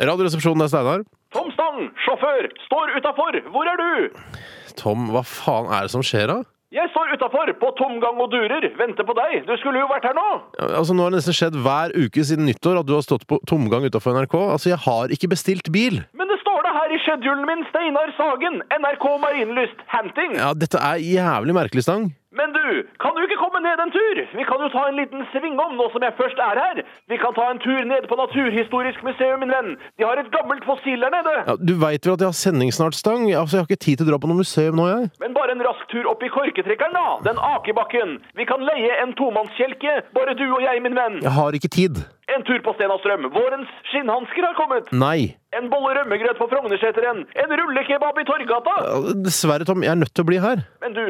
Radioresepsjonen er Steinar. Tom Stang, sjåfør, står utafor! Hvor er du? Tom, hva faen er det som skjer da? Jeg står utafor, på tomgang og durer. Venter på deg. Du skulle jo vært her nå. Altså, nå har det nesten skjedd hver uke siden nyttår at du har stått på tomgang utafor NRK. Altså, jeg har ikke bestilt bil! Men det står det her i schedulen min, Steinar Sagen, NRK Marienlyst, Hanting. Ja, dette er jævlig merkelig, Stang. Men du, kan du ikke komme ned en tur? Vi kan jo ta en liten svingom nå som jeg først er her. Vi kan ta en tur ned på Naturhistorisk museum, min venn. De har et gammelt fossil der nede. Ja, du veit vel at jeg har sending snart, Stang? Altså, Jeg har ikke tid til å dra på noe museum nå, jeg. Men bare en rask tur opp i korketrekkeren, da. Den akebakken. Vi kan leie en tomannskjelke, bare du og jeg, min venn. Jeg har ikke tid. En tur på Stena Strøm. Vårens skinnhansker har kommet. Nei. En bolle rømmegrøt på Frognerseteren. En rullekebab i Torgata. Ja, Altså, Dessverre, Tom. Jeg er nødt til å bli her. Men du,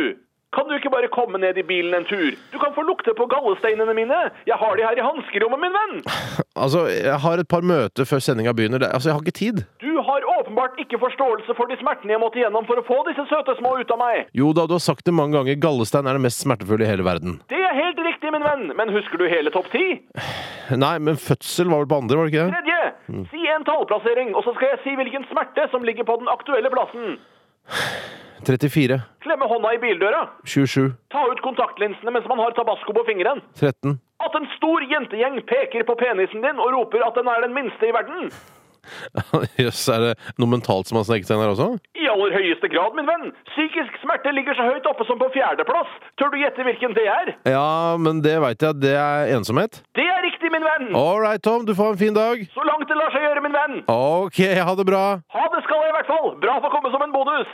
kan du ikke bare komme ned i bilen en tur? Du kan få lukte på gallesteinene mine. Jeg har de her i hanskerommet, min venn. Altså, jeg har et par møter før sendinga begynner. Det- Altså, jeg har ikke tid. Du har åpenbart ikke forståelse for de smertene jeg måtte gjennom for å få disse søte små ut av meg. Jo da, du har sagt det mange ganger. Gallestein er det mest smertefulle i hele verden. Det er helt riktig, min venn. Men husker du hele topp ti? Nei, men fødsel var vel på andre, var det ikke det? Tredje, si en tallplassering, og så skal jeg si hvilken smerte som ligger på den aktuelle plassen. 34. Klemme hånda i bildøra. 27. Ta ut kontaktlinsene mens man har tabasco på fingeren. 13. At en stor jentegjeng peker på penisen din og roper at den er den minste i verden. Jøss, er det noe mentalt som har sneket seg inn her også? I aller høyeste grad, min venn. Psykisk smerte ligger så høyt oppe som på fjerdeplass. Tør du gjette hvilken det er? Ja, men det veit jeg. Det er ensomhet. Det er riktig, min venn. All right, Tom. Du får en fin dag. Så langt det lar seg gjøre, min venn. OK, ha det bra. Ha det skal jeg i hvert fall. Bra for å komme som en bonus.